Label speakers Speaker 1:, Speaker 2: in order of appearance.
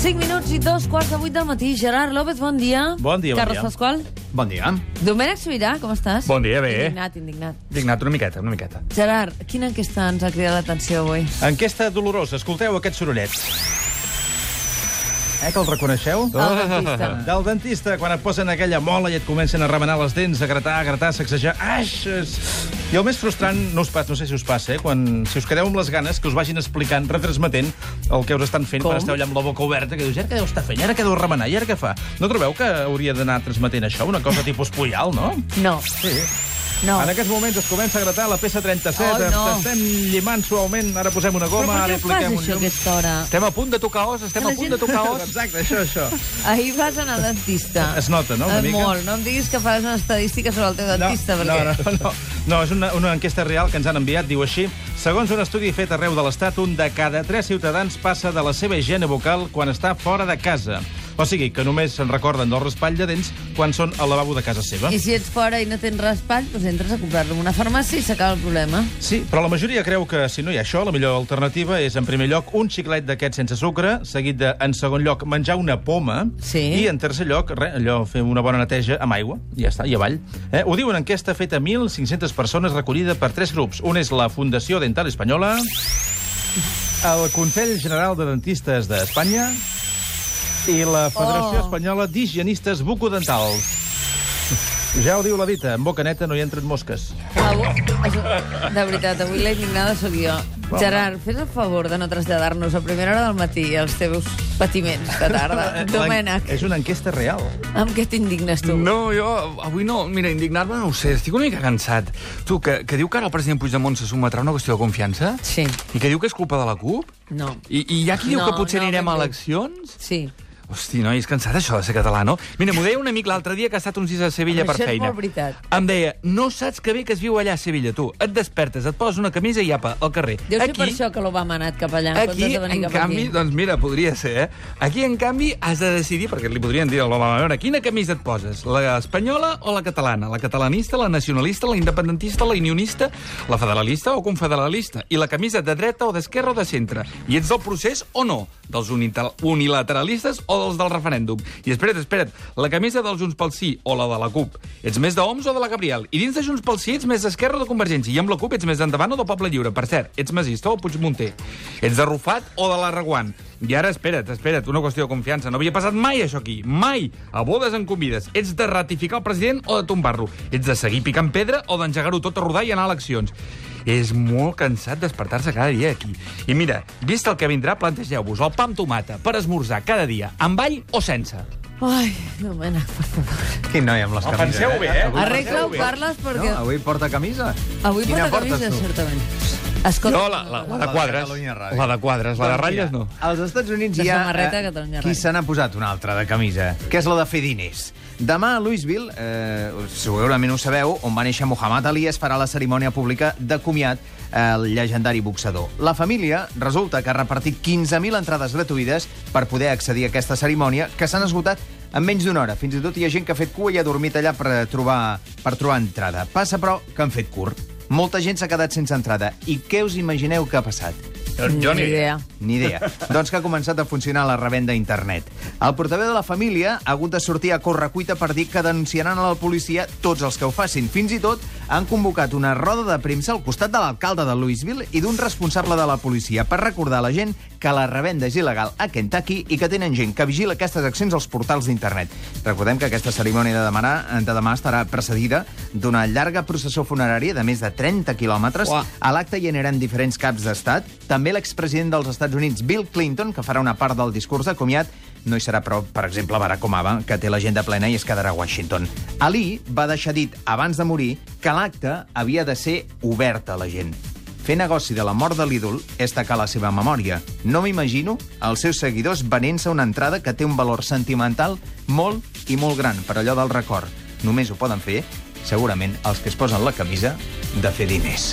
Speaker 1: 5 minuts i dos quarts de vuit del matí. Gerard López, bon dia.
Speaker 2: Bon dia, bon
Speaker 1: Carles
Speaker 2: dia.
Speaker 1: Pasqual.
Speaker 3: Bon dia.
Speaker 1: Domènec Sobirà, com estàs?
Speaker 2: Bon dia, bé.
Speaker 1: Indignat, indignat.
Speaker 3: Dignat, una miqueta, una miqueta.
Speaker 1: Gerard, quina enquesta ens ha cridat l'atenció avui?
Speaker 2: Enquesta dolorosa. Escolteu aquest sorollet. Eh, que el reconeixeu?
Speaker 1: El dentista.
Speaker 2: Del dentista, quan et posen aquella mola i et comencen a remenar les dents, a gratar, a gratar, a sacsejar... Aix! és- I el més frustrant, no us pas, no sé si us passa, eh, quan, si us quedeu amb les ganes, que us vagin explicant, retransmetent el que us estan fent
Speaker 1: Com?
Speaker 2: per estar allà amb la boca oberta, que dius, i ara què deu estar fent, I ara què deu remenar, i ara què fa? No trobeu que hauria d'anar transmetent això? Una cosa tipus puyal, no?
Speaker 1: No,
Speaker 2: Sí.
Speaker 1: no.
Speaker 2: En aquests moments es comença a gratar la peça 37,
Speaker 1: Oh, no.
Speaker 2: estem llimant suaument, ara posem una
Speaker 1: Però
Speaker 2: goma,
Speaker 1: per
Speaker 2: ara
Speaker 1: què fas
Speaker 2: apliquem
Speaker 1: això
Speaker 2: un
Speaker 1: a
Speaker 2: llum...
Speaker 1: aquesta hora?
Speaker 3: Estem a punt de tocar os, estem
Speaker 1: La
Speaker 3: a punt
Speaker 1: gent-
Speaker 3: de tocar os.
Speaker 2: Exacte, això, això.
Speaker 1: Ahir vas anar al dentista.
Speaker 2: Es nota, no, una
Speaker 1: Eh,
Speaker 2: mica?
Speaker 1: Molt. No em diguis que faràs una estadística sobre el teu dentista,
Speaker 2: no,
Speaker 1: perquè...
Speaker 2: no, no, no, és una, una enquesta real que ens han enviat, diu així. Segons un estudi fet arreu de l'Estat, un de cada tres ciutadans passa de la seva higiene vocal quan està fora de casa. O sigui, que només se'n recorden del raspall de dents quan són al lavabo de casa seva.
Speaker 1: I si ets fora i no tens raspall, doncs entres a comprar-lo en una farmàcia i s'acaba el problema.
Speaker 2: Sí, però la majoria creu que si no hi ha això, la millor alternativa és, en primer lloc, un xiclet d'aquest sense sucre, seguit de, en segon lloc, menjar una poma,
Speaker 1: Sí.
Speaker 2: i en tercer lloc, re, allò, fer una bona neteja amb aigua, i ja està, i avall. Eh, ho diu una enquesta feta a 1.500 persones recollida per tres grups. Un és la Fundació Dental Espanyola, el Consell General de Dentistes d'Espanya i la Federació
Speaker 1: Oh.
Speaker 2: oh. Espanyola d'Higienistes Bucodentals. Ja ho diu la dita, en boca neta no hi entren mosques.
Speaker 1: Avui, això- de veritat, avui la indignada sóc jo. Gerard, fes el favor de no traslladar-nos a primera hora del matí els teus patiments de tarda.
Speaker 2: Eh,
Speaker 1: Domènec,
Speaker 2: És una enquesta real.
Speaker 1: amb què t'indignes tu?
Speaker 3: No, jo avui no. Mira, indignar-me no ho sé, estic una mica cansat. Tu, que, que diu que ara el president Puigdemont se sotmetrà a una qüestió de confiança?
Speaker 1: Sí.
Speaker 3: I que diu que és culpa de la CUP?
Speaker 1: No.
Speaker 3: I, i hi ha qui diu
Speaker 1: No,
Speaker 3: que potser
Speaker 1: no,
Speaker 3: anirem
Speaker 1: ben
Speaker 3: a
Speaker 1: bé.
Speaker 3: eleccions?
Speaker 1: Sí.
Speaker 3: Hosti, no, és cansat això de ser català, no? Mira, m'ho deia un amic l'altre dia que ha estat uns dies a Sevilla
Speaker 1: Home,
Speaker 3: per
Speaker 1: això és
Speaker 3: feina.
Speaker 1: molt veritat.
Speaker 3: Em deia, no saps que bé que es viu allà a Sevilla, tu. Et despertes, et poses una camisa i apa, al carrer.
Speaker 1: Deu ser
Speaker 3: Aquí,
Speaker 1: per això que l'Obama ha anat cap allà, en
Speaker 3: Aquí,
Speaker 1: comptes de venir
Speaker 3: en
Speaker 1: cap
Speaker 3: canvi,
Speaker 1: aquí.
Speaker 3: doncs mira, podria ser, eh? Aquí, en canvi, has de decidir, perquè li podrien dir a l'Obama, a veure, quina camisa et poses? La espanyola o la catalana? La catalanista, la nacionalista, la independentista, la unionista, la federalista o confederalista? I la camisa de dreta o d'esquerra o de centre? I ets del procés o no? Dels unital- unilateralistes o dels del referèndum? I espera't, espera't, la camisa dels Junts pel Sí o la de la CUP? Ets més d'OMS o de la Gabriel? I dins de Junts pel Sí ets més d'esquerra o de Convergència? I amb la CUP ets més d'endavant o del Poble Lliure? Per cert, ets masista o Puigmunter? Ets de Rufat o de l'Arraguant? I ara, espera't, espera't, una qüestió de confiança. No havia passat mai això aquí, mai. A bodes en convides. Ets de ratificar el president o de tombar-lo? Ets de seguir picant pedra o d'engegar-ho tot a rodar i anar a eleccions? És molt cansat despertar-se cada dia aquí. I mira, vist el que vindrà, plantegeu-vos el pa amb tomata per esmorzar cada dia, amb all o sense.
Speaker 1: Ai, Domènec, per favor.
Speaker 4: Quin noi amb les
Speaker 2: No,
Speaker 4: camises.
Speaker 2: penseu bé, eh?
Speaker 4: Avui
Speaker 1: Arregla-ho,
Speaker 4: porteu bé.
Speaker 1: parles, perquè
Speaker 4: No, avui porta camisa.
Speaker 1: avui
Speaker 4: Quina
Speaker 1: porta
Speaker 4: portes,
Speaker 1: camisa,
Speaker 4: tu?
Speaker 1: certament. Escolta,
Speaker 3: No, la, la, la de quadres.
Speaker 4: Catalunya Ràdio.
Speaker 3: La de quadres, la de
Speaker 4: Doncs
Speaker 3: ratlles no.
Speaker 4: mira, Als Estats Units
Speaker 1: La
Speaker 4: hi ha...
Speaker 1: samarreta
Speaker 4: eh,
Speaker 1: Catalunya
Speaker 4: Qui
Speaker 1: Ràdio.
Speaker 4: se n'ha posat una altra de camisa, que és la de fer diners. Demà a Louisville, eh, segurament ho sabeu, on va néixer Muhammad Ali, es farà la cerimònia pública de comiat eh, el llegendari boxador. La família resulta que ha repartit 15.000 entrades gratuïdes per poder accedir a aquesta cerimònia, que s'han esgotat en menys d'una hora. Fins i tot hi ha gent que ha fet cua i ha dormit allà per eh, trobar, per trobar entrada. Passa, però, que han fet curt. Molta gent s'ha quedat sense entrada. I què us imagineu que ha passat?
Speaker 1: ni idea.
Speaker 4: Ni idea. doncs que ha començat a funcionar la revenda a internet. El portaveu de la família ha hagut de sortir a correcuita per dir que denunciaran a la policia tots els que ho facin. Fins i tot han convocat una roda de premsa al costat de l'alcalde de Louisville i d'un responsable de la policia per recordar a la gent que la revenda és il·legal a Kentucky i que tenen gent que vigila aquestes accions als portals d'internet. Recordem que aquesta cerimònia de demà, de demà estarà precedida d'una llarga processó funerària de més de 30 quilòmetres
Speaker 1: Uah.
Speaker 4: a l'acte hi aniran diferents caps d'estat, també l'expresident dels Estats Units, Bill Clinton, que farà una part del discurs de comiat, no hi serà, però, per exemple, Barack Obama, que té l'agenda plena i es quedarà a Washington. Ali va deixar dit, abans de morir, que l'acte havia de ser obert a la gent. Fer negoci de la mort de l'ídol és tacar la seva memòria. No m'imagino els seus seguidors venent-se una entrada que té un valor sentimental molt i molt gran per allò del record. Només ho poden fer, segurament, els que es posen la camisa de fer diners.